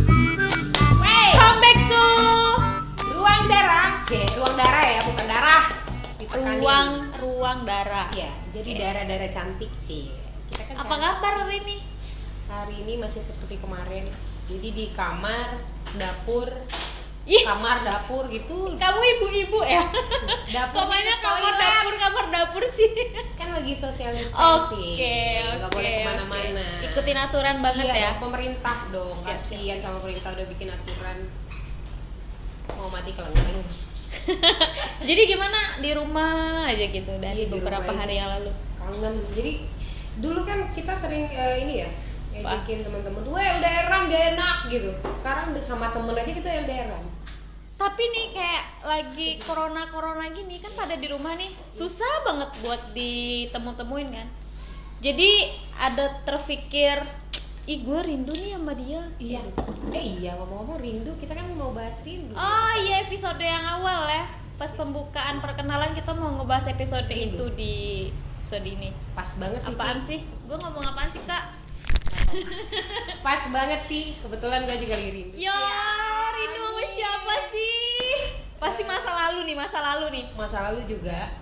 ya, ruang ruang darah. Iya, jadi Iya. darah-darah cantik sih. Kita kan Apa cantik. kabar hari ini? Hari ini masih seperti kemarin. Jadi di kamar, dapur, Ih, kamar dapur gitu. kamu ibu-ibu ya? Dapur Pokoknya gitu, kamar toilet. dapur kamar dapur sih. Kan lagi sosialisasi. Oke, Nggak oke, boleh oke. kemana-mana. Ikutin aturan banget Iya, ya. dong, pemerintah dong. Siap, siap. Kasihan sama pemerintah udah bikin aturan. Mau mati kelengar lu. Jadi gimana di rumah aja gitu Iya, dari di beberapa rumah hari aja. yang lalu. kangen jadi dulu kan kita sering eh, ini ya Apa? ngajakin teman-teman weh LDRan gak enak gitu sekarang udah sama temen aja gitu kita LDRan Tapi nih kayak lagi corona-corona gini kan pada di rumah nih susah banget buat ditemu-temuin kan. Jadi ada terpikir ih gue rindu nih sama dia. iya eh iya ngomong-ngomong rindu kita kan mau bahas rindu Oh iya episode yang awal ya. Pas pembukaan perkenalan kita mau ngebahas episode Rindu. itu di episode ini. pas banget sih Apaan Ci. sih? Gue ngomong apaan sih kak? pas banget sih kebetulan gue juga lagi rindu Ya, rindu sama siapa sih? Pasti masa lalu nih, masa lalu nih. masa lalu juga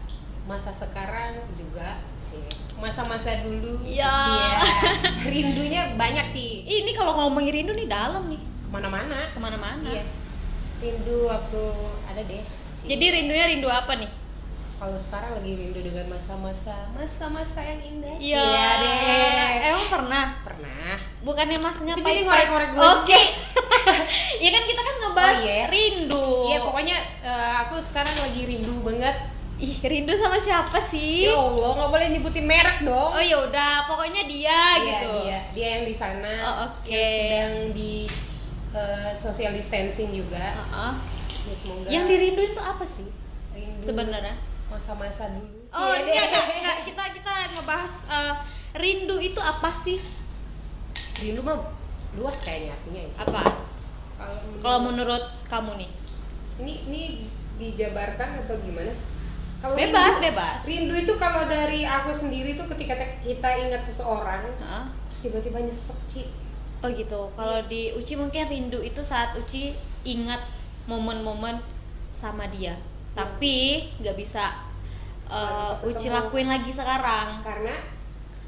masa sekarang juga sih masa-masa dulu Iya. Cie. rindunya banyak sih Ini kalau ngomongin rindu nih dalam nih, kemana-mana kemana-mana. iya rindu waktu ada deh Ci. Jadi rindunya rindu apa nih? kalau sekarang lagi rindu dengan masa-masa masa-masa yang indah Iya. Iya deh Emang pernah? pernah Bukannya masnya Jadi pahit-pahit. ngorek-ngorek gue Oke. ya kan kita kan ngebahas Oh, iya. rindu. iya pokoknya eh, aku sekarang lagi rindu banget Ih, rindu sama siapa sih? ya allah nggak boleh nyebutin merek dong Oh ya udah, pokoknya dia Iya, gitu. dia dia yang di sana Oh, oke. yang sedang di eh, social distancing juga Heeh. ya semoga Oh. Yang dirinduin tuh apa sih rindu sebenarnya? masa-masa dulu Iya. Oh, Cie, enggak, deh. enggak, enggak. kita kita ngebahas eh, rindu itu apa sih? rindu mah luas kayaknya artinya ya, Cie. Apa? Kalau menurut kamu nih? ini ini dijabarkan atau gimana? Oh, Kalau Bebas, rindu- bebas. Rindu itu kalau dari aku sendiri tuh ketika te- kita ingat seseorang Heeh. terus tiba-tiba nyesek Ci. Oh gitu. Kalau di Uci mungkin rindu itu saat Uci ingat momen-momen sama dia. Tapi Iya. nggak bisa, Nggak uh, bisa Uci ketemu. lakuin lagi sekarang. karena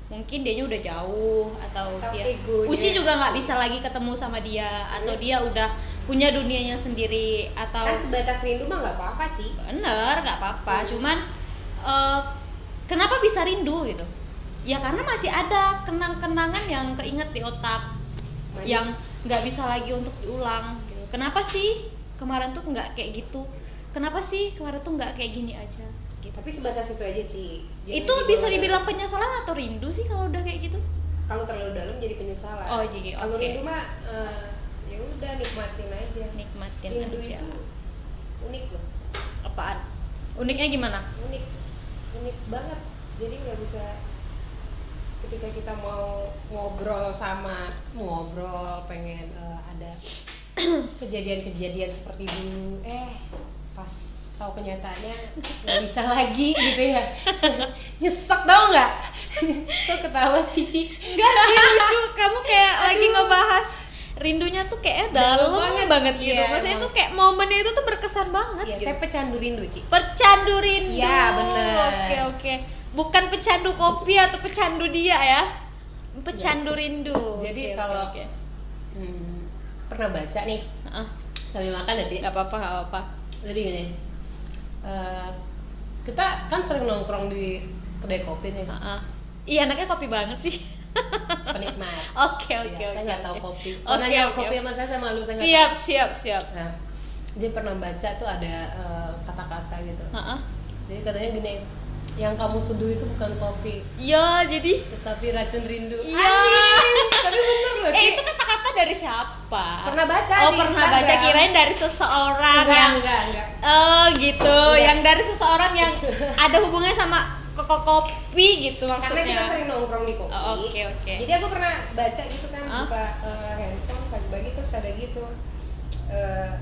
Mungkin dia udah jauh atau Atau dia egonya. Uci juga nggak bisa lagi ketemu sama dia atau Terus? dia udah punya dunianya sendiri atau kan sebatas rindu mah nggak apa-apa Ci. bener nggak apa-apa. Hmm. Cuman uh, kenapa bisa rindu gitu? Ya karena masih ada kenang-kenangan yang keinget di otak Manis. yang nggak bisa lagi untuk diulang gitu. kenapa sih kemarin tuh nggak kayak gitu kenapa sih kemarin tuh nggak kayak gini aja gitu tapi sebatas itu aja Ci. Jangan itu dibawa- bisa dibilang penyesalan atau rindu sih kalau udah kayak gitu kalau terlalu dalam jadi penyesalan. Oh, jadi, Kalau oke. rindu mah eh, ya udah nikmatin aja. nikmatin rindu aja. itu unik loh. apaan uniknya gimana unik unik banget jadi nggak bisa ketika kita mau ngobrol sama ngobrol pengen eh, ada kejadian-kejadian seperti dulu eh pas tahu kenyataannya nggak bisa lagi gitu ya nyesek tau nggak tuh ketawa sih Ci. enggak sih lucu kamu kayak lagi ngebahas rindunya tuh kayak dalam, Dalam banget. banget, gitu Iya, maksudnya emang. itu kayak momennya itu tuh berkesan banget ya gitu. saya pecandu rindu Ci pecandu rindu Iya, bener. oke oke bukan pecandu kopi atau pecandu dia ya pecandu rindu Iya. Jadi Oke, oke, kalau- oke. Hmm, pernah baca nih Heeh, sambil makan ya Ci nggak apa-apa nggak apa-apa jadi gini eh, kita kan sering nongkrong di kedai kopi nih Heeh. iya anaknya kopi banget sih penikmat oke Iya, oke saya oke nggak tahu oke. kopi Oke, Kalau nanya oke, kopi oke. sama saya saya malu saya nggak siap siap siap tahu. Nah, dia pernah baca tuh ada eh, kata-kata gitu Heeh. jadi katanya gini yang kamu seduh itu bukan kopi iya jadi tetapi racun rindu iya tapi bener loh eh Ci. itu kata-kata dari siapa pernah baca oh di pernah Instagram. baca kirain dari seseorang enggak yang enggak enggak Oh gitu, Enggak. yang dari seseorang yang ada hubungannya sama koko kopi gitu karena maksudnya. kita sering nongkrong di kopi Oh, oke, oke. jadi aku pernah baca gitu kan Hah? buka eh, handphone pagi-pagi terus ada gitu eh,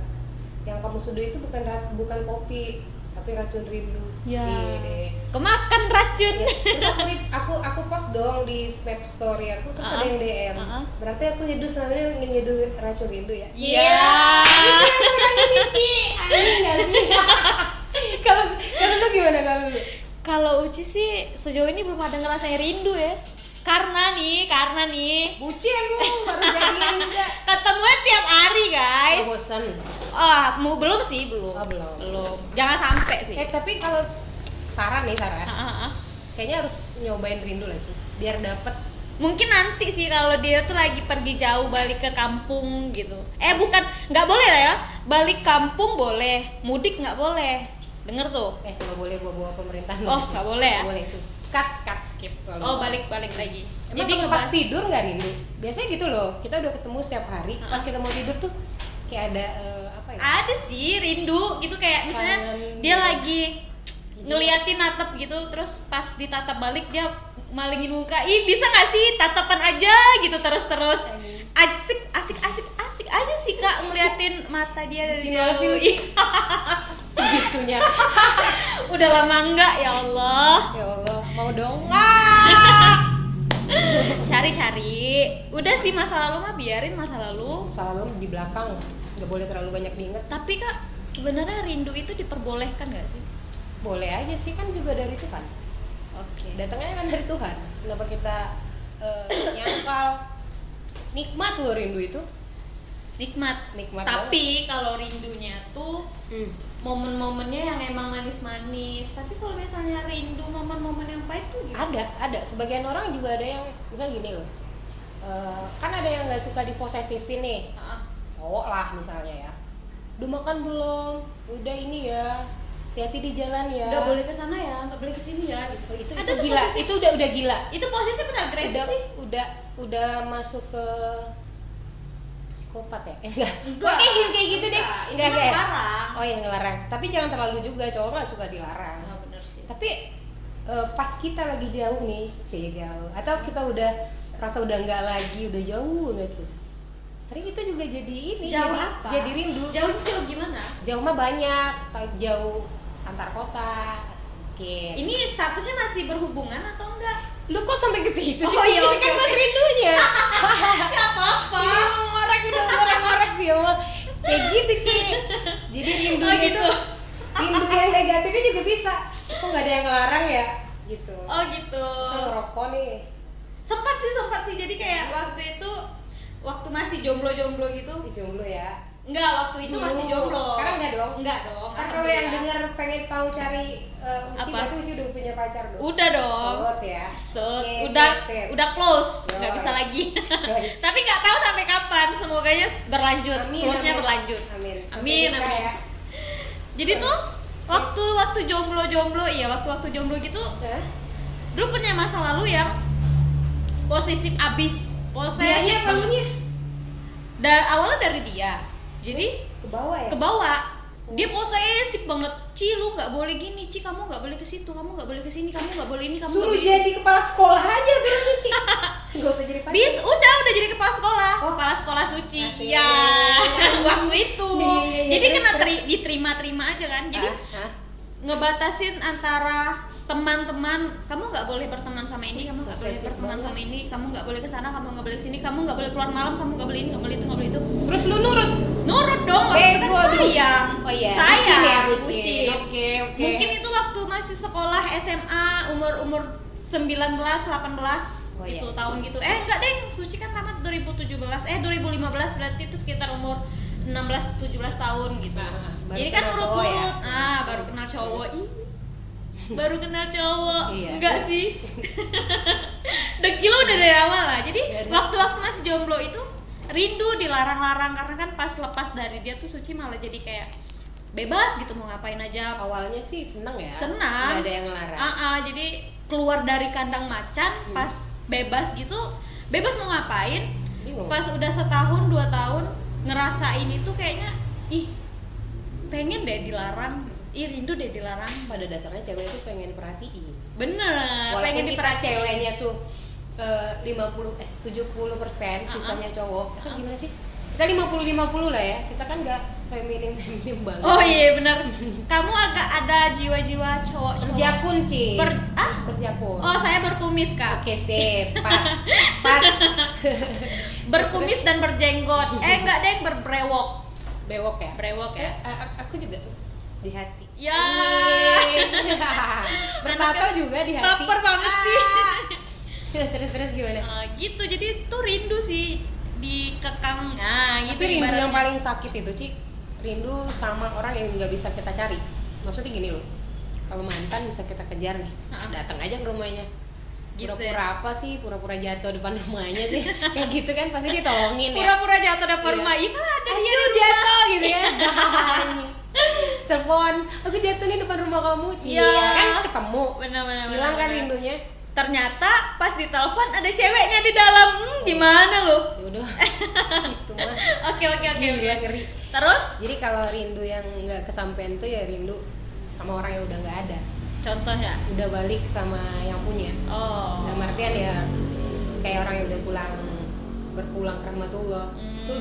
yang kamu seduh itu bukan ra- bukan kopi tapi racun rindu Ya. Cie, deh. Kemakan Ya, racun. terus aku, di- aku aku post dong di snap story aku terus Ah, ada yang DM ah, ah. berarti aku nyeduh selama ini ingin nyeduh racun rindu ya Iya. Cie, racun rindu, Cie. Aneh nggak sih? kalau kalau lu gimana kalau lu? Kalau Uci sih sejauh ini belum ada ngerasain rindu ya. Karena nih, karena nih Bucin lu, baru jadian juga. ketemunya tiap hari guys. Gak bosan. Ah, mau belum sih belum. Oh, belum. Belum. Jangan sampai sih. Eh tapi kalau saran nih saran, Ah, ah, ah. kayaknya harus nyobain rindu lah Ci. biar dapet Mungkin nanti sih kalau dia tuh lagi pergi jauh balik ke kampung gitu. Eh bukan, nggak boleh lah ya. Balik kampung boleh, mudik nggak boleh. Denger tuh. eh nggak boleh bawa bawa pemerintahan Oh, Ci. nggak boleh ya? Nggak boleh itu cut cut skip kalau Oh balik balik lagi. Emang Jadi Jadi pas ngebahas- tidur nggak rindu? Biasanya gitu loh, kita udah ketemu setiap hari. Ah. Pas kita mau tidur tuh kayak ada eh, apa ya? ada sih rindu gitu kayak misalnya Kangen. gitu. dia lagi ngeliatin natap gitu terus pas ditatap balik dia malingin muka ih bisa nggak sih tatapan aja gitu terus terus asik asik asik asik aja sih kak ngeliatin mata dia dari Bucin banget sih jauh lu. Ih, Segitunya. udah lama nggak ya Allah ya Allah, mau dong. cari cari udah sih masa lalu mah biarin masa lalu Salah lu di belakang, nggak boleh terlalu banyak diinget. tapi kak sebenarnya rindu itu diperbolehkan nggak sih Boleh aja sih kan juga dari Tuhan. oke Datangnya kan dari Tuhan. Kenapa kita eh, nyangkal nikmat loh rindu itu? nikmat Nikmat tapi kalau rindunya tuh Hmm. momen-momennya yang emang manis-manis tapi kalau misalnya rindu momen-momen yang pahit tuh gimana? ada ada sebagian orang juga ada yang misalnya gini loh Eh, kan ada yang nggak suka diposesifin nih Ah, cowok lah misalnya ya udah makan belum udah ini ya hati-hati di jalan ya nggak boleh ke sana ya nggak boleh ke sini ya gitu. Oh, itu, Ada itu tuh gila posisi- itu udah udah gila itu posisi benar agresif udah sih udah udah masuk ke psikopat ya Eh, enggak Enggak. kayak gitu kayak gitu deh Enggak, enggak enggak itu mah ya? larang. oh yang ngelarang tapi jangan terlalu juga cowok nggak suka dilarang Nah, bener sih tapi eh, pas kita lagi jauh nih cie jauh atau kita udah rasa udah nggak lagi udah jauh banget tuh sering itu juga jadi ini jauh jadi, apa? jadi rindu jauh jauh gimana? jauh mah banyak ta- jauh antar kota mungkin ini statusnya masih berhubungan atau enggak? lu kok sampai ke situ sih Oh, iya, Ini oke, kan mas rindunya Iya, nggak apa-apa ngorek udah ngorek ngorek dia mah kayak gitu cie jadi rindu Oh, gitu. itu rindu yang negatifnya juga bisa kok nggak ada yang ngelarang ya gitu oh gitu Misal ngerokok nih sempat sih sempat sih jadi kayak waktu itu waktu masih jomblo-jomblo gitu Ih, jomblo ya Enggak, waktu itu Dulu. masih jomblo. Sekarang enggak dong? Enggak dong. kan kalau yang alhamdulillah. dengar pengen tahu cari uh, Uci Oh, iya. Apa? berarti Uci udah punya pacar dong udah dong. Sot ya Sot. Oke, udah sip, sip. udah close, Yo. nggak bisa lagi. Yoi. Tapi nggak tahu sampai kapan. Semoganya berlanjut. Close-nya berlanjut. amin Amin, Sampai nikah amin. ya. Jadi tuh Sip. waktu waktu jomblo-jomblo, iya waktu-waktu jomblo gitu, Hah? dulu punya masa lalu yang posesif abis. Posesif. Dianya apa banget. lunya? Dan awalnya dari dia. Jadi ke bawah ya ke bawah dia posesif banget Ci lu nggak boleh gini Ci kamu nggak boleh ke situ kamu nggak boleh ke sini kamu nggak boleh ini kamu nggak suruh boleh ini." jadi kepala sekolah aja terus Uci nggak usah jadi pacar bis udah udah jadi kepala sekolah Oh. kepala sekolah suci Asik. ya waktu itu Iya, iya, iya. jadi Terus, kena terus. Ah. teri- diterima-terima aja kan jadi Hah? Hah? ngebatasin antara teman-teman kamu nggak boleh berteman sama ini kamu nggak boleh Posesif berteman banget. sama ini kamu nggak boleh ke sana kamu nggak boleh ke sini kamu nggak boleh keluar malam kamu nggak boleh ini nggak boleh itu nggak boleh itu terus lu nurut nurut dong waktu itu Bego kan lu. sayang Eh, oh iya sayang Uci ya, Uci. bucin. oke oke Mungkin itu waktu masih sekolah SMA, umur-umur 19, 18 Oh, gitu iya. tahun gitu. Eh enggak deh, Suci kan tamat 2017. Eh 2015 berarti itu sekitar umur 16 17 tahun gitu. Nah, baru Jadi kan kenal cowok nurut-nurut. ya? Ah, baru kenal cowok. Ih, baru kenal cowok. Iya. Enggak sih. Dengki lo udah dari awal lah. Jadi Dari- waktu-waktu masih jomblo itu rindu dilarang-larang karena kan pas lepas dari dia tuh Suci malah jadi kayak bebas gitu mau ngapain aja awalnya sih seneng ya Seneng. nggak ada yang ngelarang Ah, ah, jadi keluar dari kandang Hmm. macan pas bebas gitu, bebas mau ngapain? bingung Pas udah setahun dua tahun ngerasain itu kayaknya ih pengen deh dilarang, ih rindu deh dilarang. pada dasarnya cewek itu pengen perhatiin Bener, walaupun Ah, pengen kita diperhatiin. ceweknya tuh eh, 50 eh 70 persen Ah, sisanya cowok itu gimana sih kita 50 50 lah ya kita kan nggak feminim feminim banget Oh iya bener, kamu agak ada jiwa-jiwa cowok. kerja pun Ci. Ber ah? kerja pun Oh saya berkumis kak, oke sip pas pas berkumis dan berjenggot. Eh enggak deh berbrewok, bewok ya brewok ya. A- a- aku juga di hati. Ya. Yeay. Bertato juga di hati. Baper banget sih. Ah. terus terus gimana? Eh, gitu jadi tuh rindu sih dikekang nah gitu Tapi rindu ibaratnya. yang paling sakit itu, Ci. Rindu sama orang yang nggak bisa kita cari. Maksudnya gini loh. Kalau mantan bisa kita kejar nih. Ha-ha. Datang aja ke rumahnya. Gitu ya. pura-pura apa sih? Pura-pura jatuh depan rumahnya sih. Kayak gitu kan pasti ditolongin ya. pura-pura jatuh depan Iya. rumah itu ada Aduh, dia di rumah. jatuh gitu ya telepon aku jatuh nih depan rumah kamu Cie. Iya. kan ketemu benar-benar hilang kan benar. rindunya ternyata pas ditelepon ada ceweknya di dalam hmm, gimana lu yaudah Ya gitu mah oke oke oke Gila, ngeri terus jadi kalau rindu yang nggak kesampaian tuh ya rindu sama orang yang udah nggak ada contohnya udah balik sama yang punya oh dalam artian ya kayak orang yang udah pulang berpulang ke rahmatullah Hmm.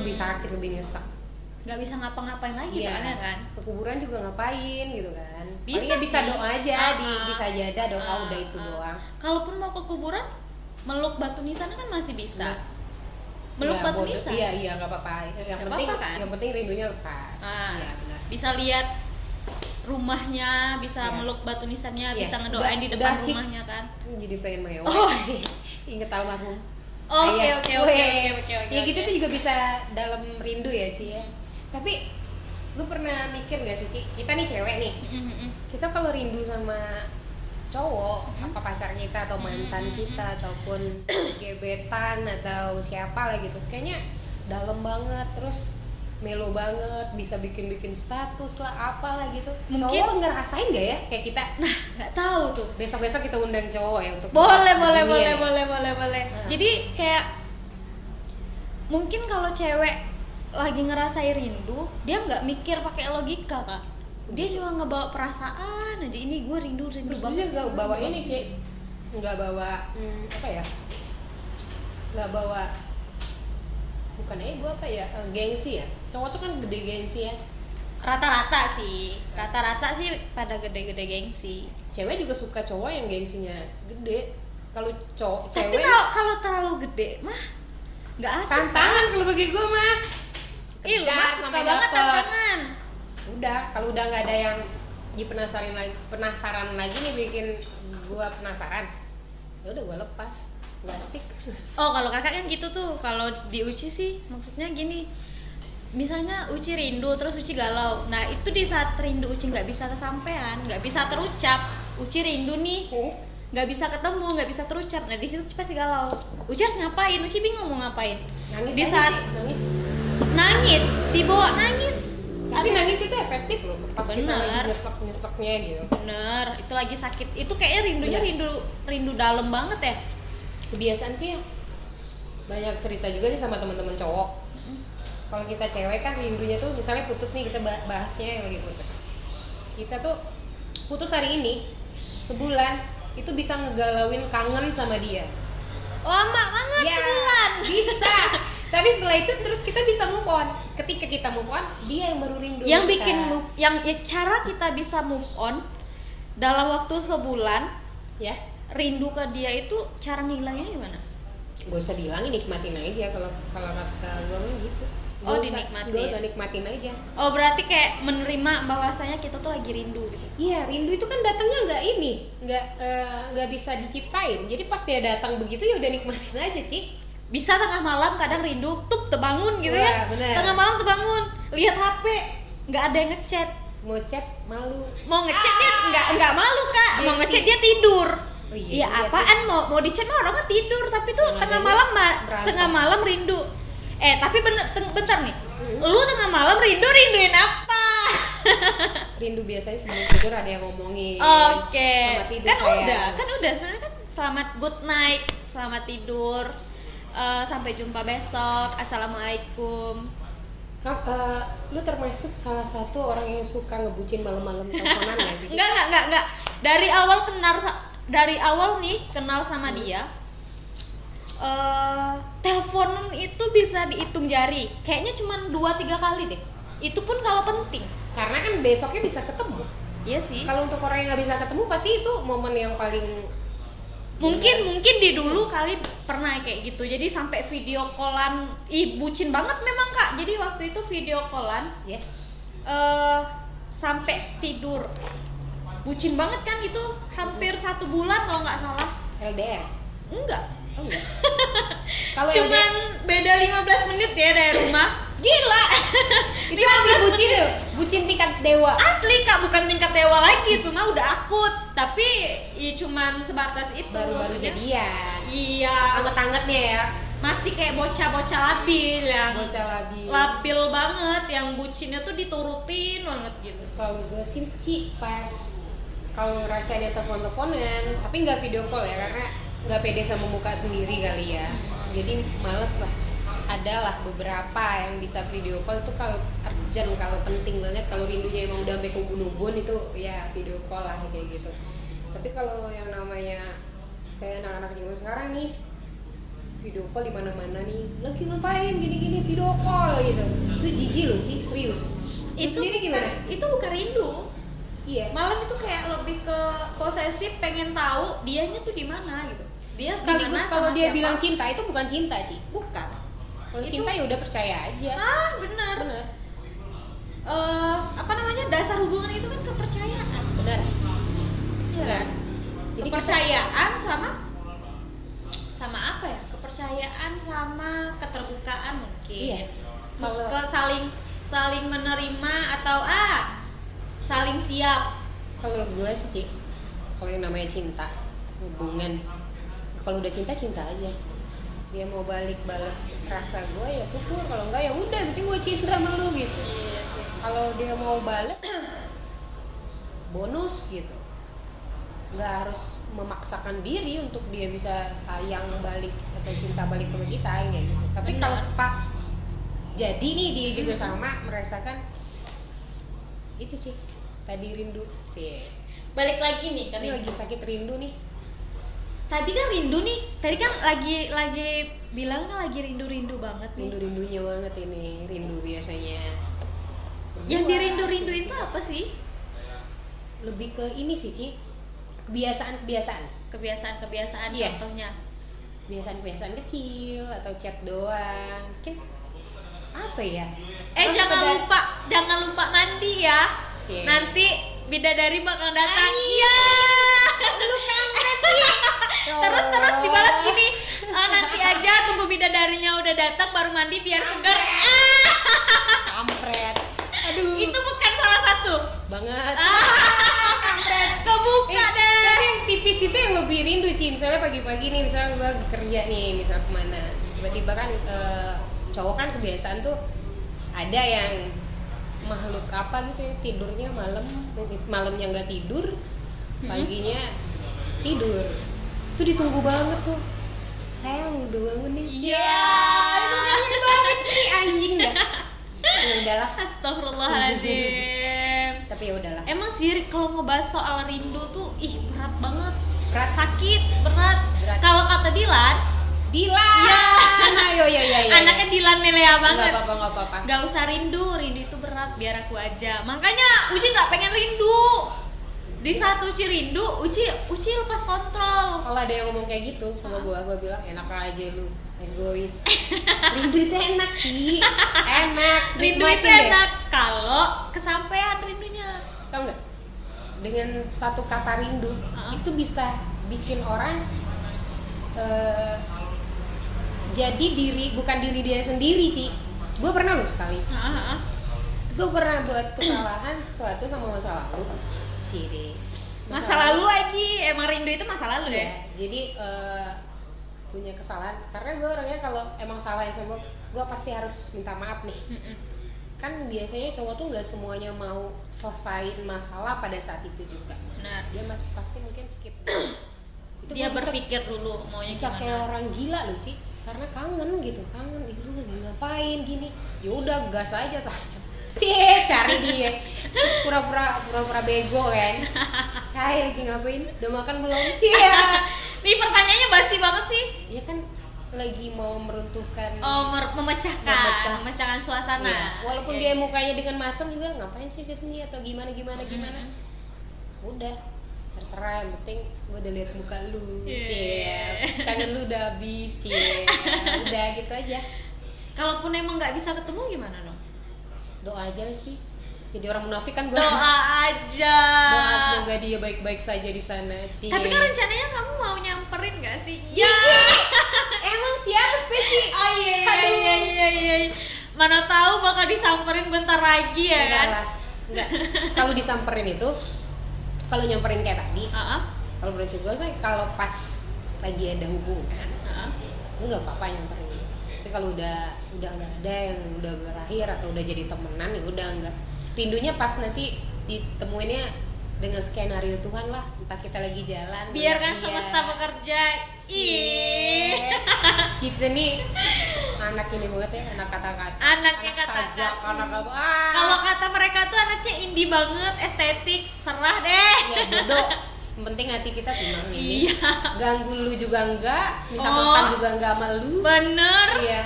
itu lebih sakit lebih nyesek nggak bisa ngapa-ngapain lagi Iya. soalnya kan ke kuburan juga ngapain gitu kan Bisa Palingnya bisa sih. doa aja di Ah, bisa jada doa Ah, udah itu ah. doang kalaupun mau ke kuburan meluk batu nisan kan masih bisa meluk Ya, batu bodoh. nisan iya iya nggak apa-apa yang Nggak penting apa-apa kan? yang penting rindunya lepas Ah, Iya, benar. bisa lihat rumahnya bisa Iya. meluk batu nisannya Iya. bisa ngedoain di Udah- depan udah, Cik. rumahnya kan Ini jadi pengen mewah Oh. inget almarhum oke Ayah. Oh, oke oke Weh. oke oke oke ya gitu oke. Hmm. tuh juga bisa dalam rindu ya Ci ya tapi lu pernah mikir gak sih Ci kita nih cewek nih Mm, mm, mm. kita kalau rindu sama cowok Mm. apa pacar kita atau mantan Mm, mm, kita ataupun gebetan atau siapa lah gitu kayaknya dalam banget terus melo banget bisa bikin bikin status lah apalah gitu Mungkin- cowok ngerasain gak ya kayak kita nah nggak tahu tuh besok besok kita undang cowok ya untuk boleh bahas boleh dunia gitu. boleh nih. boleh boleh boleh Heeh. jadi kayak mungkin kalau cewek lagi ngerasain rindu dia nggak mikir pakai logika kak dia Betul. cuma ngebawa perasaan aja ini gue rindu rindu terus dia banget juga bawa ini Ci nggak bawa hmm, apa ya nggak bawa bukan eh gue apa ya eh, gengsi ya cowok tuh kan gede gengsi ya rata-rata sih rata-rata sih pada gede-gede gengsi cewek juga suka cowok yang gengsinya gede kalau cowok tapi cewek kalau kalau terlalu gede mah nggak asik tantangan kalau bagi gue mah Ih, lu Kejar mah suka sampai banget dapet. tantangan udah kalau udah nggak ada yang dipenasarin lagi penasaran lagi nih bikin gue penasaran ya udah gue lepas gak asik Oh kalau kakak kan gitu tuh kalau di Uci sih maksudnya gini misalnya Uci rindu terus Uci galau nah itu di saat rindu Uci nggak bisa kesampaian nggak bisa terucap Uci rindu nih nggak bisa ketemu nggak bisa terucap nah di situ Uci pasti galau Uci harus ngapain Uci bingung mau ngapain nangis Di aja sih, saat- nangis nangis dibawa nangis tapi nangis itu efektif loh pas kita lagi Bener. nyesek nyeseknya gitu bener itu lagi sakit itu kayaknya rindunya Iya. rindu rindu dalam banget ya kebiasaan sih ya banyak cerita juga nih sama teman-teman cowok kalau kita cewek kan rindunya tuh misalnya putus nih kita bah- bahasnya yang lagi putus kita tuh putus hari ini sebulan itu bisa ngegalauin kangen sama dia lama banget Ya, Ah, sebulan bisa tapi setelah itu terus kita bisa move on ketika kita move on dia yang baru rindu yang kita. bikin move yang ya, cara kita bisa move on dalam waktu sebulan ya rindu ke dia itu cara ngilangnya gimana gak usah bilangin nikmatin aja kalau kalau kata gue mah gitu Gak Oh, usah- dinikmatin. gak usah nikmatin aja oh berarti kayak menerima bahwasanya kita tuh lagi rindu gitu Iya, rindu itu kan datangnya nggak ini, nggak eh, nggak bisa diciptain. Jadi pas dia datang begitu ya udah nikmatin aja, Cik. bisa tengah malam kadang rindu tuh terbangun gitu Wah, ya Iya, bener. tengah malam terbangun lihat hp nggak ada yang ngechat Mau chat malu. mau ngechat dia nggak nggak malu kak Iya mau sih. ngechat dia tidur Oh iya iya juga apaan mau mau dicat mah orangnya tidur tapi tuh Yang tengah ada malam dia ma- berantem. tengah malam rindu eh tapi bener teng- bentar nih Hmm. lu tengah malam rindu rinduin apa Rindu biasanya sebelum tidur ada yang ngomongin. oke Sama Iya, tidur kan sayang. udah kan udah sebenarnya kan selamat good night selamat tidur Eh, sampai jumpa besok assalamualaikum Kam- eh, lu termasuk salah satu orang yang suka ngebucin malam-malam teleponan nggak sih? Cik? Enggak, enggak, enggak, enggak. Dari awal kenal sa- dari awal nih kenal sama dia. eh teleponan itu bisa dihitung jari. Kayaknya cuma 2 3 kali deh. Itu pun kalau penting. Karena kan besoknya bisa ketemu. Iya sih. Kalau untuk orang yang nggak bisa ketemu pasti itu momen yang paling Mungkin mungkin di dulu kali pernah kayak gitu. Jadi sampai video callan ih bucin banget memang Kak. Jadi waktu itu video callan ya. eh sampai tidur bucin banget kan itu hampir satu bulan kalau nggak salah LDR enggak oh enggak kalau kan cuman LDR beda 15 menit ya dari rumah gila itu masih bucin 15 menit. Ah, tuh bucin tingkat dewa asli kak bukan tingkat dewa lagi itu mah udah akut tapi i, cuman sebatas itu baru-baru maksudnya. jadian iya anget-angetnya ya masih kayak bocah-bocah labil yang bocah iya. labil labil banget yang bucinnya tuh diturutin banget gitu kalau gue sih Ci, pas kalau ngerasa dia telepon-teleponan tapi nggak video call ya karena nggak pede sama muka sendiri kali ya jadi males lah adalah beberapa yang bisa video call itu kalau urgent kalau penting banget kalau rindunya emang udah sampai kubun-ubun itu ya video call lah kayak gitu tapi kalau yang namanya kayak anak-anak zaman sekarang nih video call di mana-mana nih lagi ngapain gini-gini video call gitu itu jijik loh Ci, serius Lu sendiri bukan- gimana? itu kan bukan rindu Iya. malah itu kayak lebih ke posesif pengen tahu dianya tuh di mana gitu dia Sekaligus gimana kalau sama dia siapa. bilang cinta itu bukan cinta, Ci. bukan Kalau Itu- cinta ya udah percaya aja. ah benar Benar. Eh, apa namanya dasar hubungan itu kan kepercayaan Benar. Iya kan? Jadi kepercayaan sama sama apa ya? Kepercayaan sama keterbukaan Iya. mungkin. Kalau- Ke saling saling menerima atau ah saling siap. Kalau gue sih, Ci, kalau yang namanya cinta, hubungan. Kalau udah cinta cinta aja. Dia mau balik balas rasa gue ya syukur, kalau enggak ya udah, yang penting gue cinta sama lu gitu. Kalau dia mau bales bonus gitu. Nggak harus memaksakan diri untuk dia bisa sayang balik atau cinta balik sama kita kayak gitu. Tapi Benar. kalau pas jadi nih dia juga sama merasakan itu sih tadi rindu sih Balik lagi nih kan ini lagi sakit rindu nih Tadi kan rindu nih. Tadi kan lagi lagi bilang kan lagi rindu-rindu banget nih. rindu rindunya banget ini rindu biasanya Yang Berdua. dirindu-rinduin tuh apa sih? lebih ke ini sih Ci kebiasaan kebiasaan Kebiasaan-kebiasaan Iya. contohnya. kebiasaan kebiasaan kecil atau chat doang mungkin apa ya Eh Terus jangan pada- lupa, jangan lupa mandi ya. Sih. Nanti bidadari bakal datang. Iya. Lu kampret Terus terus dibalas gini. "Ah, nanti aja tunggu bidadarinya udah datang baru mandi biar segar. Ah, kampret Ah, aduh Itu bukan salah satu. Ah, banget Kebuka Eh, deh. tapi yang tipis itu yang lebih rindu Ci misalnya pagi-pagi nih misalnya gue kerja nih misalnya kemana tiba-tiba kan eh, cowok kan kebiasaan tuh ada yang makhluk apa gitu ya tidurnya malam malamnya nggak tidur Hmm. paginya tidur itu ditunggu banget tuh sayang udah bangun nih Iya. itu kangen banget sih anjing dah ya udahlah Astagfirullahaladzim. tapi ya udahlah Emang sih kalau ngebahas soal rindu tuh ih berat banget. rasa Sakit, berat. Berat. Kalau kata Dilan, Dilan Ya. ayo ya ya ya anaknya Dilan melea nggak banget. apa-apa nggak apa-apa Gak usah rindu, rindu itu berat, biar aku aja. Makanya Uci gak pengen rindu. Di saat Uci rindu, Uci Uci lepas kontrol. kalau ada yang ngomong kayak gitu sama gue gue bilang enak aja lu egois rindu itu enak Ki enak Rindu nikmatin itu deh. enak kalau kesampaian rindunya. tau nggak dengan satu kata rindu Uh-uh. itu bisa bikin orang eh, jadi diri bukan diri dia sendiri Ci gue pernah loh sekali gue pernah buat kesalahan sesuatu sama masa lalu sih Masa lalu lagi, emang rindu itu masa lalu Iya, ya. jadi eh, punya kesalahan karena gue orangnya kalau emang salah ya sama gue pasti harus minta maaf nih Mm-mm. kan biasanya cowok tuh nggak semuanya mau selesain masalah pada saat itu juga Benar. dia masih pasti mungkin skip itu Dia gua bisa- berpikir dulu maunya bisa kayak gimana. orang gila loh Ci karena kangen gitu kangen "Ih, lu lagi ngapain gini ya udah gas aja tak Cie, cari dia terus pura-pura pura-pura bego kan hai lagi ngapain udah makan belum ya. Cie Nih pertanyaannya basi banget sih. Iya kan lagi mau meruntuhkan Oh, mer- memecahkan, memecah- memecahkan suasana. Iya. Walaupun dia Iya, iya. mukanya dengan masam juga ngapain sih ke sini atau gimana gimana gimana. Mm. Udah terserah yang penting gue udah lihat muka lu Iya. cie kangen lu udah habis cie udah gitu aja Kalaupun emang nggak bisa ketemu gimana dong? doa aja lah sih jadi orang munafik kan gue doa aja doa semoga iya. dia baik-baik saja di sana Cie. tapi kan rencananya kamu mau nyamperin gak sih ya emang siapa sih oh iya iya Aduh. iya iya iya mana tahu bakal disamperin bentar lagi ya enggak kan lah enggak Iya kalau disamperin itu kalau nyamperin kayak tadi Heeh, kalau prinsip gue sih kalau pas lagi ada hubungan heeh. Iya. enggak apa-apa nyamperin tapi kalau udah udah nggak ada yang udah berakhir atau udah jadi temenan ya udah enggak rindunya pas nanti ditemuinnya dengan skenario Tuhan lah entah kita lagi jalan biarkan iya. semesta bekerja ih Iya. kita nih anak ini banget ya anak kata-kata Anaknya anak sajak, kata-kata. anak apa ah. kalau kata mereka tuh anaknya indie banget estetik serah deh ya bodoh yang penting hati kita senang ini Iya. ganggu lu juga enggak minta Oh. makan juga enggak sama lu bener iya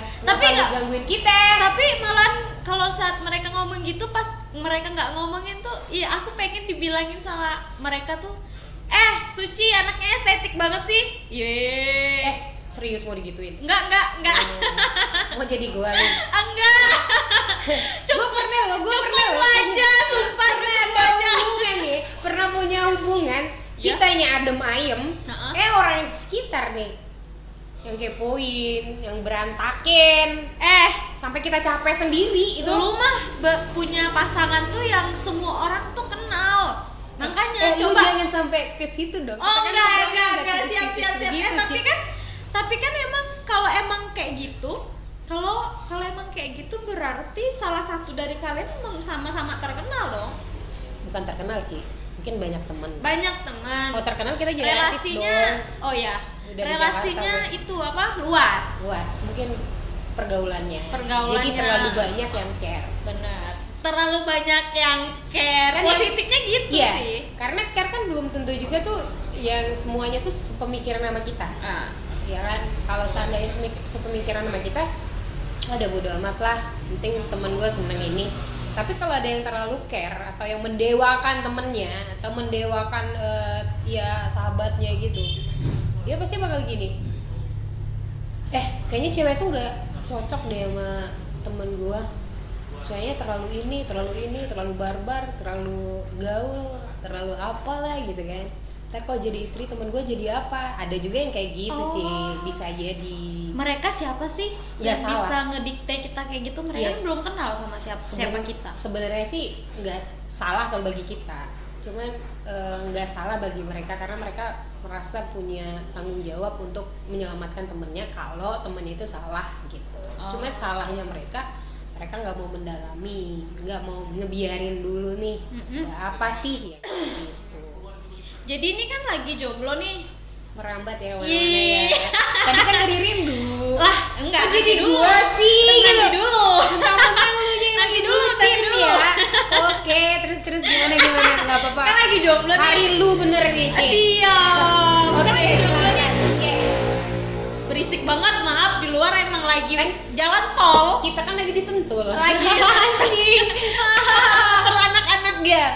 Kenapa tapi lu nggak gangguin kita tapi malah kalau saat mereka ngomong gitu pas mereka nggak ngomongin tuh iya aku pengen dibilangin sama mereka tuh eh suci anaknya estetik banget sih ye eh serius mau digituin nggak nggak nggak Hmm. mau jadi gua lu enggak gue pernah loh gue pernah cukup loh aja sumpah pernah ada hubungan nih pernah punya hubungan Ya. kitanya adem ayem Ha-ha. eh orang sekitar nih yang kepoin yang berantakin eh sampai kita capek sendiri itu dulu mah ba- punya pasangan tuh yang semua orang tuh kenal Eh, makanya lu coba jangan sampai ke situ dong Oh Kita kan enggak, ngobrol enggak, udah enggak, tipis-tipis siap, siap, siap. gitu, eh, tapi Ci. kan tapi kan emang kalau emang kayak gitu, kalau kalau emang kayak gitu berarti salah satu dari kalian emang sama-sama terkenal dong. bukan terkenal sih mungkin banyak teman Banyak teman. kalau terkenal kita jadi artis relasinya Oh, dong oh ya. Udah di Relasinya Jakarta, itu apa? Luas. luas mungkin pergaulannya Pergaulannya. jadi terlalu banyak yang care Benar. Terlalu banyak yang care. Kan yang- Positifnya gitu Iya, sih. karena care kan belum tentu juga tuh yang semuanya tuh sepemikiran sama kita Ah, ya kan kalau seandainya semik- sepemikiran sama kita ada bodo amat lah penting temen gue seneng ini tapi kalau ada yang terlalu care atau yang mendewakan temennya atau mendewakan eh, ya sahabatnya gitu dia pasti bakal gini eh kayaknya cewek tuh nggak cocok deh sama temen gue ceweknya terlalu ini terlalu ini terlalu barbar terlalu gaul terlalu apalah gitu kan ntar kalau jadi istri temen gue jadi apa ada juga yang kayak gitu Oh. Ci. bisa jadi mereka siapa sih Ya, salah. yang bisa ngedikte kita kayak gitu? Mereka Yes. belum kenal sama siapa siapa Seben- kita. sebenarnya sih nggak salah kalau bagi kita cuman eh, nggak salah bagi mereka karena mereka merasa punya tanggung jawab untuk menyelamatkan temennya kalau temen itu salah gitu Oh. cuman salahnya mereka mereka nggak mau mendalami nggak mau ngebiarin dulu nih Mm-mm. ada apa sih ya gitu Jadi ini kan lagi jomblo nih. merambat ya Ih. warnanya ya tadi kan dari rindu Lah, enggak. Kok jadi nanti dulu. gua sih, Nanti gitu? dulu. Mentang-mentang lu yang Nanti lagi dulu, nanti bucin dulu. ya. Oke, terus terus gimana gimana nggak apa-apa. Kan lagi jomblo Hari nih. lu bener nih. Ah, Ci. Siap. Oke, Kan lagi jomblo nih. oke. Berisik banget, maaf di luar emang lagi Kan- jalan tol. Kita kan lagi disentul. Lagi anjing. Anak-anak Iya. ya?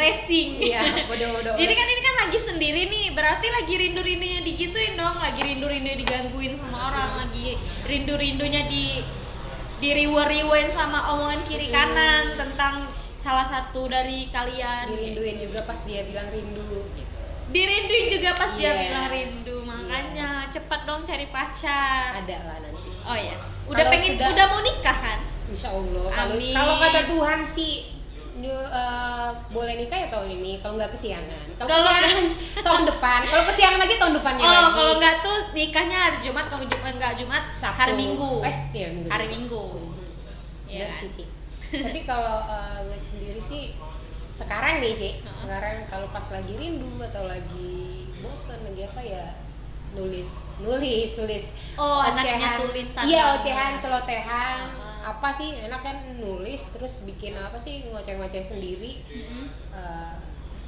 racing. Iya, bodoh-bodoh. Jadi kan ini kan lagi sendiri nih, berarti lagi rindu-rindunya digituin dong, lagi rindu-rindunya digangguin sama orang, Iya. lagi rindu-rindunya di diriwe-riwein sama omongan kiri kanan tentang salah satu dari kalian. dirinduin juga pas dia bilang rindu gitu. Dirinduin juga pas Iya. dia bilang rindu, makanya cepet dong cari pacar. Ada lah nanti. Oh ya, udah Kalau pengen sudah- udah mau nikah kan? Insya Allah. Kalau Amin. kalau kata Tuhan sih nyu- eh, boleh nikah ya tahun ini kalau nggak kesiangan kalau Kalau- kesiangan tahun depan kalau kesiangan lagi tahun depannya Oh, lagi kalau nggak tuh nikahnya hari Jumat, kalau Jumat nggak Jumat, Sabtu. hari Minggu. eh iya, minggu Hari Minggu. Iya Bener kan? sih Ci. tapi kalau eh, gue sendiri sih sekarang nih Ci Heeh. sekarang kalau pas lagi rindu atau lagi bosan lagi apa ya nulis nulis nulis Oh, anaknya tulisan. iya ocehan celotehan Heeh. apa sih enak kan nulis terus bikin apa sih ngoceh-ngoceh sendiri Mm-mm. Eh,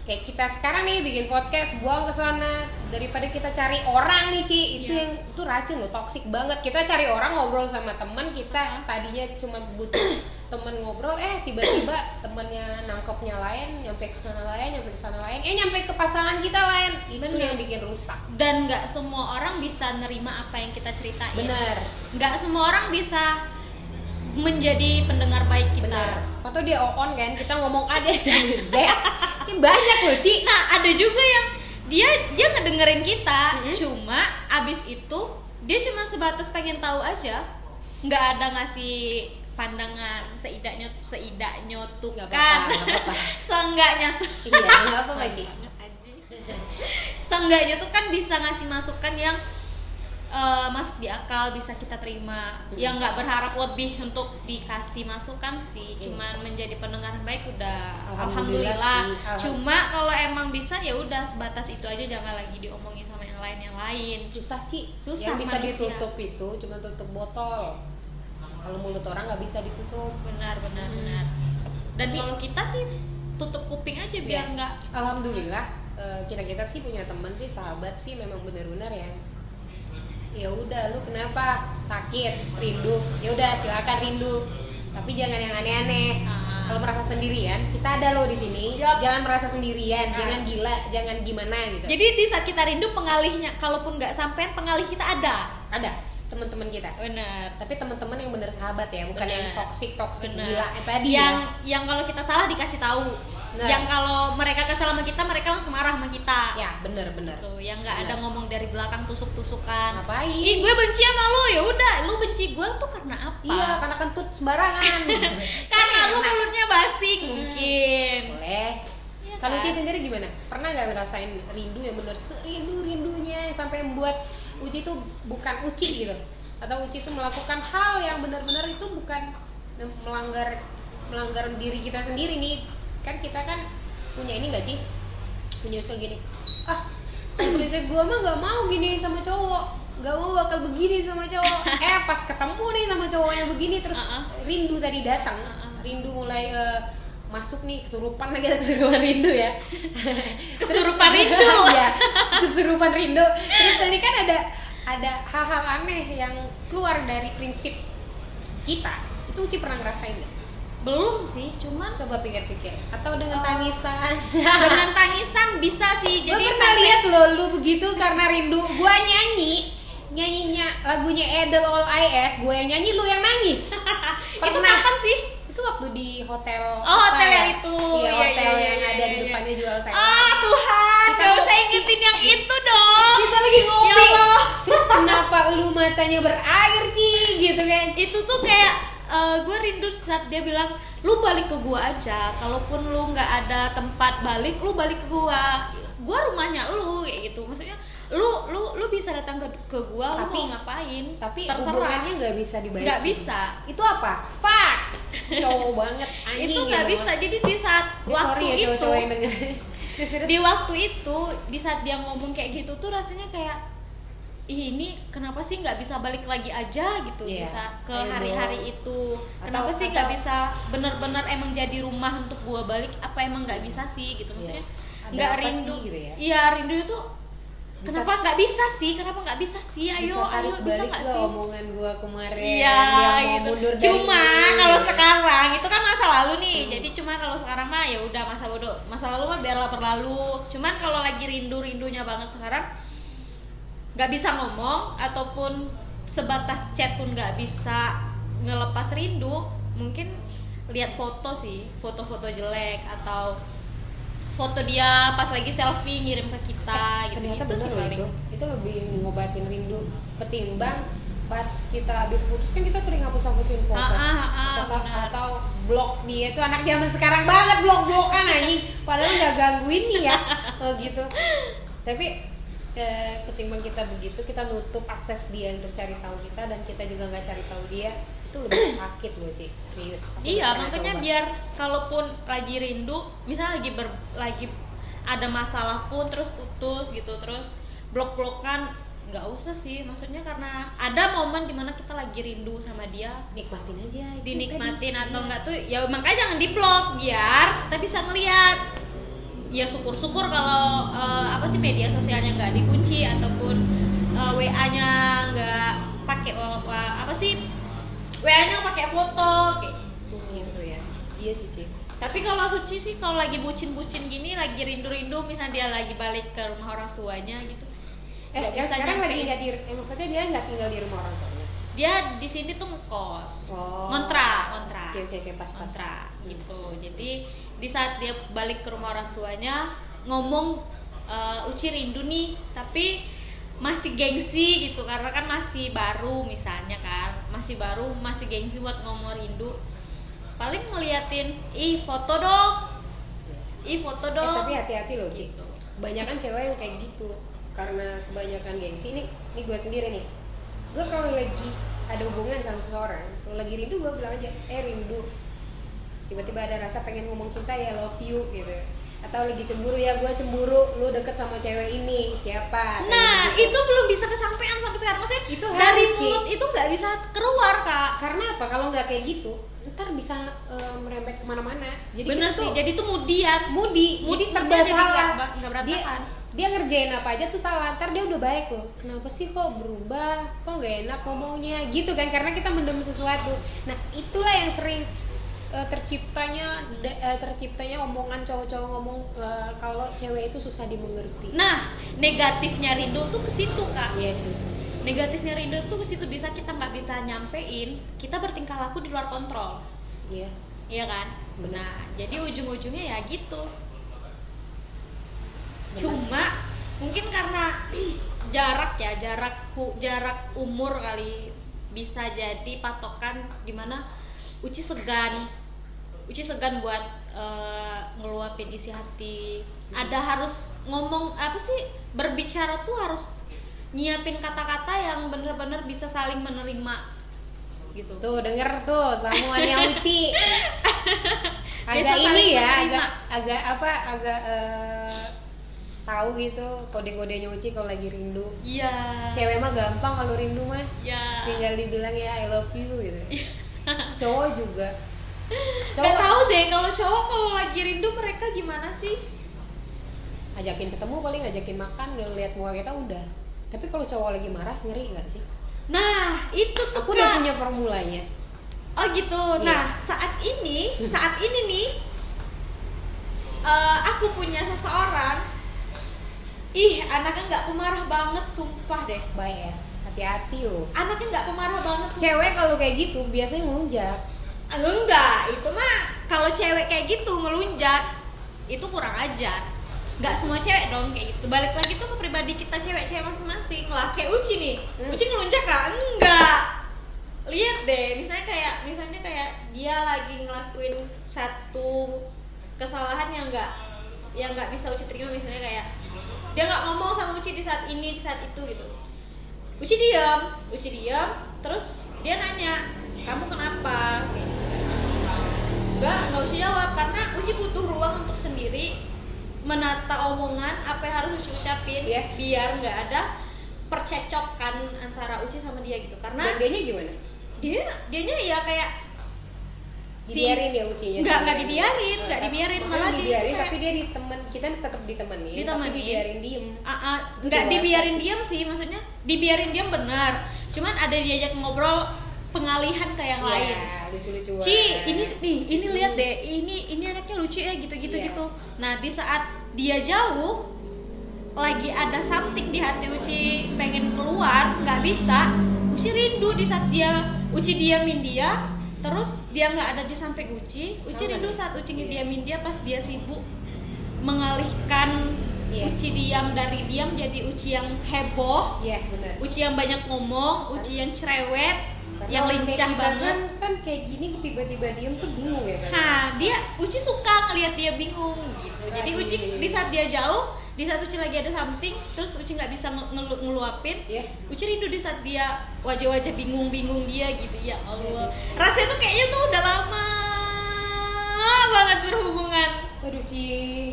kayak kita sekarang nih bikin podcast buang ke sana daripada kita cari orang nih Ci itu Iya. yang itu racun loh toksik banget kita cari orang ngobrol sama teman kita tadinya cuma butuh temen ngobrol eh tiba-tiba temennya nangkepnya lain nyampe ke sana lain nyampe ke sana lain eh nyampe ke pasangan kita lain itu Bener. yang bikin rusak Dan nggak Iya. semua orang bisa nerima apa yang kita ceritain. bener Nggak semua orang bisa menjadi pendengar baik kita. benar atau dia on kan kita ngomong A dia jadi Z ini banyak loh Ci Nah, ada juga yang dia dia ngedengerin kita, Mhm. cuma abis itu dia cuma sebatas pengen tahu aja, nggak ada ngasih pandangan seidaknya seidaknya tuh Nggak apa-apa, kan, nggak apa-apa. seenggaknya tuh, iya nggak apa-apa Ci seenggaknya tuh kan bisa ngasih masukan yang eh, masuk di akal bisa kita terima, Mhm. yang nggak berharap lebih untuk dikasih masukan sih, Iya. cuman menjadi pendengar baik udah Alhamdulillah alhamdulillah. sih, alhamdulillah. Cuma kalau emang bisa ya udah sebatas itu aja jangan lagi diomongin sama yang lain yang lain. susah Ci yang Susah bisa manusia. ditutup itu cuma tutup botol kalau mulut orang nggak bisa ditutup Benar benar Hmm. benar. Dan Tapi- kalau kita sih tutup kuping aja biar Iya. nggak alhamdulillah eh, kita kita sih punya teman sih sahabat sih memang benar-benar yang ya udah lu kenapa sakit rindu ya udah silakan rindu tapi jangan yang aneh-aneh Ah. kalau merasa sendirian kita ada lo di sini Yap. jangan merasa sendirian Ah. jangan gila jangan gimana gitu Jadi di saat kita rindu pengalihnya kalaupun nggak sampean pengalih kita ada. ada teman-teman kita Benar. tapi teman-teman yang benar sahabat ya bukan Benar. yang toksik toksik Benar. gila eh, tadi yang ya. yang kalau kita salah dikasih tahu. Benar. Yang kalau mereka kesal sama kita mereka langsung marah sama kita. ya bener-bener Tuh, yang nggak ada Benar. ngomong dari belakang tusuk-tusukan. ngapain Ih, gue benci sama lu. Ya udah, lu benci gue tuh karena apa? Kan iya karena kentut sembarangan karena lu mulutnya basi Hmm. mungkin boleh Iya Kalau kan? Uci sendiri gimana? Pernah nggak ngerasain rindu yang bener serindu rindunya sampai membuat Uci tuh bukan Uci gitu? Atau Uci tuh melakukan hal yang benar-benar itu bukan melanggar melanggar diri kita sendiri nih? Kan kita kan punya ini nggak sih? Punya usul gini. Ah, prinsip gua mah nggak mau gini sama cowok. Gak mau bakal begini sama cowok. Eh pas ketemu nih sama cowok yang begini terus Uh-uh. rindu tadi datang. Ah, Uh-uh. Rindu mulai eh, masuk nih kesurupan lagi ada kesurupan rindu ya Kesurupan rindu. ya kesurupan rindu terus tadi kan ada ada hal-hal aneh yang keluar dari prinsip kita itu Uci pernah ngerasain nggak? belum sih cuman coba pikir-pikir atau dengan Oh. tangisan dengan tangisan bisa sih gue jadi pernah lihat lo lu begitu karena rindu gue nyanyi nyanyinya lagunya Edel All IS gue yang nyanyi lu yang nangis itu pernah. kapan sih itu waktu di hotel oh apa hotel ya? yang itu iya Iya, hotel iya, yang iya, ada di iya, depannya jual teh iya. ah Tuhan Kita gak usah ngopi. ingetin yang itu dong kita lagi ngopi Ya Allah. terus kenapa lu matanya berair Ci gitu kan itu tuh kayak eh, gue rindu saat dia bilang lu balik ke gua aja kalaupun lu nggak ada tempat balik lu balik ke gua gua rumahnya lu kayak gitu maksudnya lu lu lu bisa datang ke ke gua lu Tapi- mau ngapain tapi Terserah. hubungannya nggak bisa dibalikin nggak bisa itu apa fuck cowok banget anjing itu ya nggak banget. bisa jadi di saat Ya, waktu sorry ya itu cowok-cowok yang denger Terus, terus. di waktu itu di saat dia ngomong kayak gitu tuh rasanya kayak Ih, ini kenapa sih nggak bisa balik lagi aja gitu Iya. bisa ke Ayo dong. hari-hari itu kenapa Atau- sih nggak atau- bisa benar-benar emang jadi rumah untuk gua balik apa emang nggak bisa sih gitu maksudnya Iya. Ada nggak apa rindu sih gitu ya? iya rindu itu Bisa- kenapa nggak bisa sih kenapa nggak bisa sih ayo bisa tarik ayo bisa balik nggak gak sih omongan gua kemarin Iya yang mau gitu. mundur dari Cuma ini. kalau sekarang itu kan masa lalu nih. Hmm. Jadi cuma kalau sekarang mah ya udah masa bodoh. Masa lalu mah biarlah berlalu. Cuman kalau lagi rindu-rindunya banget sekarang nggak bisa ngomong ataupun sebatas chat pun nggak bisa ngelepas rindu, mungkin lihat foto sih, foto-foto jelek atau foto dia pas lagi selfie ngirim ke kita gitu Eh, ternyata gitu bener sih loh paling. itu itu lebih ngobatin rindu ketimbang pas kita habis putus kan kita sering hapus-hapusin foto Ah, ah, ah, atau, benar. kan? atau blok dia itu anak zaman sekarang banget blok-blokan anjing padahal nggak gangguin nih ya oh, gitu tapi eh, ketimbang kita begitu kita nutup akses dia untuk cari tahu kita dan kita juga nggak cari tahu dia itu lebih sakit loh Ci serius Aku Iya, pernah makanya coba. biar kalaupun lagi rindu, misalnya lagi ber, lagi ada masalah pun terus putus gitu, terus blok-blokan nggak usah sih, maksudnya karena ada momen dimana kita lagi rindu sama dia nikmatin aja itu dinikmatin tadi. atau enggak tuh ya makanya jangan diblok biar kita bisa ngeliat ya syukur-syukur kalau eh, apa sih media sosialnya nggak dikunci ataupun eh, WA-nya nggak pakai wa- wa- apa sih WA-nya pakai foto kayak gitu ya iya sih Ci tapi kalau Suci sih kalau lagi bucin-bucin gini, lagi rindu-rindu, misalnya dia lagi balik ke rumah orang tuanya gitu. Eh, Nggak yang bisa sekarang lagi nyampein. nggak di, eh, maksudnya dia nggak tinggal di rumah orang tuanya. dia di sini tuh ngekos Oh. kontrak kontrak Oke Hmm. oke oke pas Eh, pas. kontrak Ah, gitu jadi di saat dia balik ke rumah orang tuanya ngomong "Eh, uci rindu nih tapi masih gengsi gitu karena kan masih baru misalnya kan masih baru masih gengsi buat ngomong rindu paling ngeliatin ih foto dong ih foto Eh, dong tapi hati-hati loh Ci. gitu Kebanyakan cewek yang kayak gitu karena kebanyakan gengsi ini ini gue sendiri nih. Gue kalau lagi ada hubungan sama seseorang, kalau lagi rindu gue bilang aja, eh rindu. Tiba-tiba ada rasa pengen ngomong cinta ya love you gitu. Atau lagi cemburu ya gue cemburu, lu deket sama cewek ini siapa? Kayak nah gitu. itu belum bisa kesampaian sampai sekarang maksudnya Itu dari harus, Ci. mulut itu nggak bisa keluar kak karena apa kalau nggak kayak gitu ntar bisa eh, merembet kemana-mana jadi bener kita tuh sih jadi itu mudian mudi mudi Jadi serba kita jadi salah nggak ba- nggak dia berantakan. dia ngerjain apa aja tuh salah ntar dia udah baik loh kenapa sih kok berubah kok nggak enak ngomongnya gitu kan karena kita mendem sesuatu nah itulah yang sering eh, terciptanya da- eh, terciptanya omongan cowok-cowok ngomong eh, kalau cewek itu susah dimengerti Nah, negatifnya rindu tuh ke situ, Kak. iya sih Negatifnya rindu tuh ke situ bisa kita nggak bisa nyampein, kita bertingkah laku di luar kontrol. iya Iya kan? Benar. Nah, jadi ujung-ujungnya ya gitu. Benar Cuma mungkin karena jarak ya, jarak hu- jarak umur kali bisa jadi patokan dimana Uci segan. Uci segan buat eh, ngeluapin isi hati. Hmm. Ada harus ngomong apa sih? Berbicara tuh harus nyiapin kata-kata yang bener-bener bisa saling menerima gitu. Tuh denger tuh samuannya Uci. Biasa Agak saling ini ya, menerima. agak agak apa agak eh, tahu gitu kode-kodenya Uci kalau lagi rindu. Iya. Cewek mah gampang kalau rindu mah Iya. tinggal dibilang ya I love you gitu. Cowok juga. Gak Cowok tahu deh kalau cowok kalau lagi rindu mereka gimana sih? ajakin ketemu paling ngajakin makan udah lihat muka kita udah. Tapi kalau cowok lagi marah ngeri nggak sih? Nah, itu tuh Aku udah Kak. punya formulanya. Oh gitu. Iya. Nah, saat ini, Hmm. saat ini nih eh, aku punya seseorang Ih, anaknya nggak pemarah banget, sumpah deh. Baik ya, hati-hati loh. Anaknya nggak pemarah banget. sumpah. Cewek kalau kayak gitu biasanya ngelunjak. Enggak, itu mah kalau cewek kayak gitu ngelunjak itu kurang ajar. Nggak semua cewek dong kayak gitu. Balik lagi tuh ke pribadi kita cewek-cewek masing-masing lah. Kayak Uci nih, Hmm. Uci ngelunjak gak? Enggak. Lihat deh, misalnya kayak misalnya kayak dia lagi ngelakuin satu kesalahan yang enggak yang nggak bisa Uci terima misalnya kayak dia nggak ngomong sama Uci di saat ini di saat itu gitu. Uci diam, Uci diam, terus dia nanya, kamu kenapa? Kayak gitu. Enggak, nggak usah jawab karena Uci butuh ruang untuk sendiri menata omongan apa yang harus Uci ucapin Iya. biar nggak ada percecokan antara Uci sama dia gitu Nah, karena dianya gimana? dia dianya ya kayak si- dibiarin ya ucinya Nggak, sendiri. nggak dibiarin, nggak tapi- dibiarin, maksudnya malah di- dibiarin kayak- tapi dia ditemen kita tetap ditemenin Ditemenin. tapi dibiarin diem Ah, ah, Itu nggak dewasa dibiarin sih. diam sih maksudnya dibiarin diam benar cuman ada diajak ngobrol pengalihan ke yang lain ya, lucu-lucuan Ci, ini nih, ini Hmm. lihat deh, ini ini anaknya lucu ya gitu-gitu Iya. gitu. Nah, di saat dia jauh lagi ada something di hati Uci pengen keluar, nggak bisa. Uci rindu di saat dia Uci diamin dia, terus dia nggak ada di samping Uci. Uci Kangen. rindu saat Uci Iya. diamin dia pas dia sibuk mengalihkan Iya. Uci diam dari diam jadi Uci yang heboh, Iya, benar Uci yang banyak ngomong, Uci yang cerewet, Karena yang orang kayak lincah kita banget. kan, kan kayak gini tiba-tiba diem tuh bingung ya kan Nah, dia Uci suka ngelihat dia bingung gitu. Jadi Lagi. Uci di saat dia jauh, di saat Uci lagi ada something, terus Uci nggak bisa ngelu- ngelu- ngeluapin. Iya. Uci rindu di saat dia wajah-wajah bingung-bingung dia gitu ya Allah. Rasanya tuh kayaknya tuh udah lama banget berhubungan. aduh Ci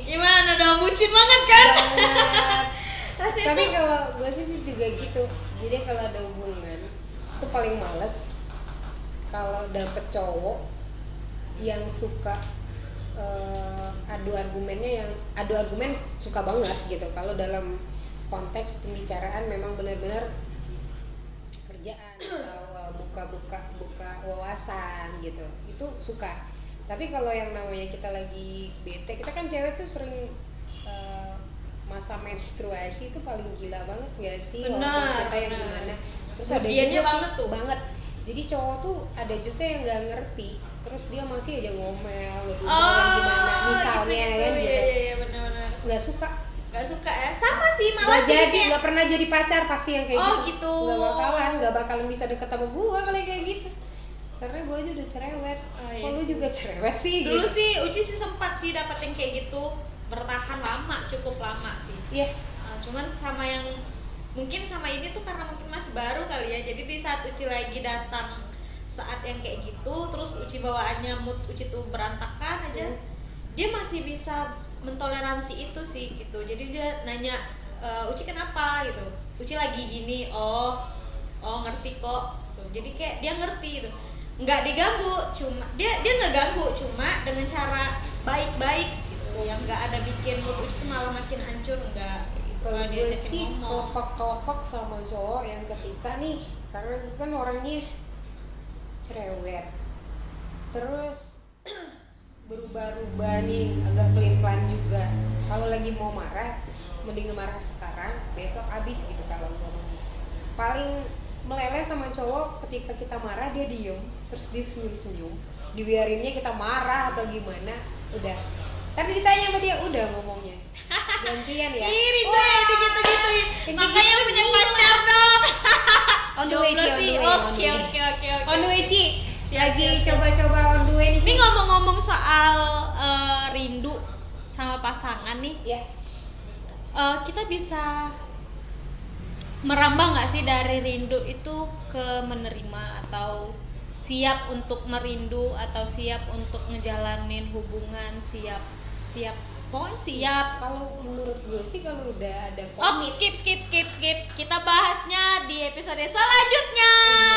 Iya Gimana dong, bucin banget Iya kan? banget Rasanya tapi tuh kalau gue sih juga gitu jadi kalau ada hubungan itu paling males kalau dapet cowok yang suka eh, adu argumennya yang adu argumen suka banget gitu kalau dalam konteks pembicaraan memang benar-benar kerjaan atau eh, buka-buka buka wawasan gitu itu suka tapi kalau yang namanya kita lagi bete kita kan cewek tuh sering eh, masa menstruasi itu paling gila banget gak sih Benar, orang kita yang benar. gimana terus Ujiannya juga sih- banget tuh. banget jadi cowok tuh ada juga yang nggak ngerti terus dia masih aja ngomel ngedumel gimana misalnya oh, kan gitu, Iya, gitu iya, iya, benar-benar. nggak suka Gak suka ya. Sama sih, malah nggak jadi kayak- nggak pernah jadi pacar pasti yang kayak Oh, gitu gitu. nggak bakalan nggak bakalan bisa deket sama gua kalau yang kayak gitu karena gua aja udah cerewet Oh, iya Kok lu sih. juga cerewet sih Dulu gitu. sih Uci sih sempat sih dapat yang kayak gitu bertahan lama, cukup lama sih. iya Uh, cuman sama yang mungkin sama ini tuh karena mungkin masih baru kali ya. Jadi di saat Uci lagi datang saat yang kayak gitu, terus Uci bawaannya mood Uci tuh berantakan aja. Hmm. Dia masih bisa mentoleransi itu sih gitu. Jadi dia nanya "E, Uci kenapa gitu. Uci lagi gini. Oh, oh ngerti kok. Tuh, Jadi kayak dia ngerti gitu. Nggak diganggu, cuma dia dia nggak ganggu, cuma dengan cara baik-baik gitu. Yang nggak ada bikin mood Uci tuh malah makin hancur enggak gitu. kalau dia gue diajakin sih ngomong. kelepek-kelepek sama cowok yang ketika nih karena gue kan orangnya cerewet terus berubah-ubah nih agak pelin-pelan juga kalau lagi mau marah mending marah sekarang besok abis gitu kalau gue paling meleleh sama cowok ketika kita marah dia diem terus dia senyum-senyum dibiarinnya kita marah atau gimana udah tadi ditanya sama dia udah ngomongnya gantian ya Iri deh, digitu-gituin. Ini Makanya gitu punya pacar dong. Oh, on the way Ci, Jomblo on the way sih. on Oke, the way. oke, oke, oke. on the way Ci Siap, lagi siap, siap. coba-coba on the way nih Ci Ini ngomong-ngomong soal eh, rindu sama pasangan nih, ya eh, kita bisa merambah nggak sih dari rindu itu ke menerima atau siap untuk merindu atau siap untuk ngejalanin hubungan siap siap pokoknya siap kalau menurut gue sih kalau udah ada Oh, komit skip, skip, skip, skip. Kita bahasnya di episode selanjutnya. Iya, Ya, ya